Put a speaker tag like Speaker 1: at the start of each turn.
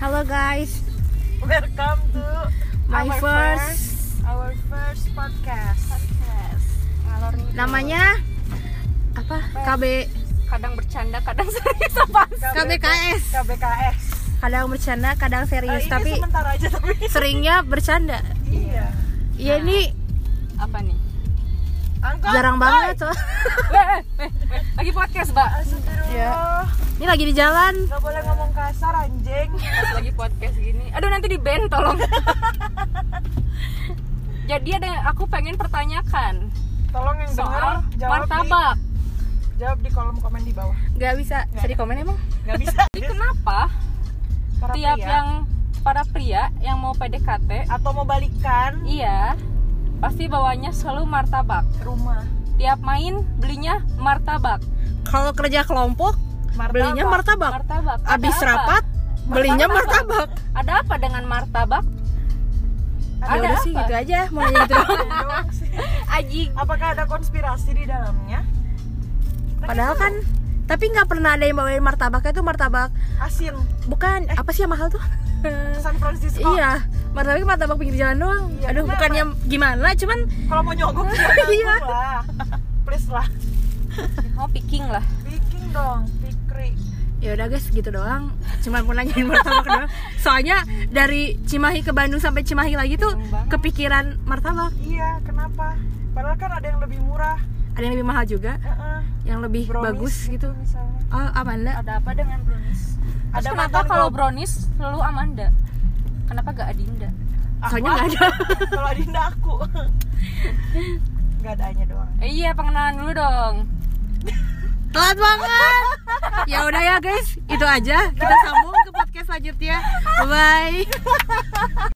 Speaker 1: Hello guys,
Speaker 2: Welcome to
Speaker 1: my
Speaker 2: our
Speaker 1: first
Speaker 2: our first podcast. Ngalor ngidul.
Speaker 1: namanya apa? KB
Speaker 3: kadang bercanda kadang serius apa
Speaker 1: KBKS.
Speaker 2: KBKS.
Speaker 1: kadang bercanda, kadang
Speaker 2: Eh,
Speaker 1: serius,
Speaker 2: ini
Speaker 1: tapi
Speaker 2: sebentar aja tapi.
Speaker 1: seringnya bercanda.
Speaker 2: Iya.
Speaker 1: Ya ini
Speaker 3: apa nih Eh,
Speaker 2: Angkot.
Speaker 1: jarang banget tuh.
Speaker 3: Weh, weh, weh, weh. lagi podcast mbak
Speaker 2: Astagfirullah.
Speaker 1: Iya. Ini lagi di jalan.
Speaker 2: Gak boleh ngomong kasar anjing.
Speaker 3: Pas lagi podcast gini aduh nanti di band tolong jadi ada yang aku pengen pertanyakan
Speaker 2: Tolong yang dengar
Speaker 3: soal
Speaker 2: jawab
Speaker 3: martabak
Speaker 2: di jawab di kolom komen di bawah.
Speaker 1: Gak bisa.
Speaker 3: bisa di komen emang
Speaker 2: Gak bisa.
Speaker 3: jadi kenapa
Speaker 2: Para
Speaker 3: tiap
Speaker 2: pria.
Speaker 3: yang para pria yang mau PDKT
Speaker 2: atau mau balikan
Speaker 3: iya pasti bawanya selalu martabak
Speaker 2: ke rumah.
Speaker 3: tiap main belinya martabak
Speaker 1: Kalau kerja kelompok belinya martabak.
Speaker 3: martabak Ada
Speaker 1: Abis
Speaker 3: apa?
Speaker 1: rapat belinya martabak.
Speaker 3: ada apa dengan martabak
Speaker 1: Ya
Speaker 3: Ada
Speaker 1: udah sih
Speaker 3: apa?
Speaker 1: gitu aja, mau nanya gitu doang.
Speaker 2: Doang sih.
Speaker 3: aji
Speaker 2: Apakah ada konspirasi di dalamnya? Kita
Speaker 1: Padahal
Speaker 2: nggak
Speaker 1: kan tapi nggak pernah ada yang bawain martabaknya tuh martabak
Speaker 2: tahu. asin
Speaker 1: bukan apa sih yang mahal tuh?
Speaker 2: San Francisco.
Speaker 1: Iya, martabak martabak pinggir jalan doang.
Speaker 2: Iya,
Speaker 1: Aduh,
Speaker 2: kenapa?
Speaker 1: bukannya gimana, cuman
Speaker 2: Kalau mau nyogok ya
Speaker 1: Iya.
Speaker 2: nyogok lah. Please lah.
Speaker 3: mau Oh, picking lah
Speaker 2: Viking dong, Fikri.
Speaker 1: ya udah guys gitu doang. Cuman mau nanyain martabak doang. Soalnya dari Cimahi ke Bandung sampai Cimahi lagi tuh
Speaker 3: Bingung banget.
Speaker 1: kepikiran martabak.
Speaker 2: Iya, kenapa? Padahal kan ada yang lebih murah.
Speaker 1: Ada yang lebih mahal juga,
Speaker 2: Heeh.
Speaker 1: yang lebih
Speaker 2: brownies
Speaker 1: bagus gitu.
Speaker 2: misalnya.
Speaker 1: Oh, Amanda.
Speaker 3: ada apa dengan brownies Terus
Speaker 2: Ada
Speaker 3: kenapa
Speaker 2: mantan
Speaker 3: kalau
Speaker 2: gua-
Speaker 3: brownies selalu Amanda kenapa gak Adinda
Speaker 1: Soalnya nggak ada.
Speaker 2: Kalau Adinda aku. Enggak ada nya doang.
Speaker 3: Eh, iya pengenalan dulu dong
Speaker 1: Telat banget. Ya udah ya guys, itu aja. Kita sambung ke podcast selanjutnya. Bye.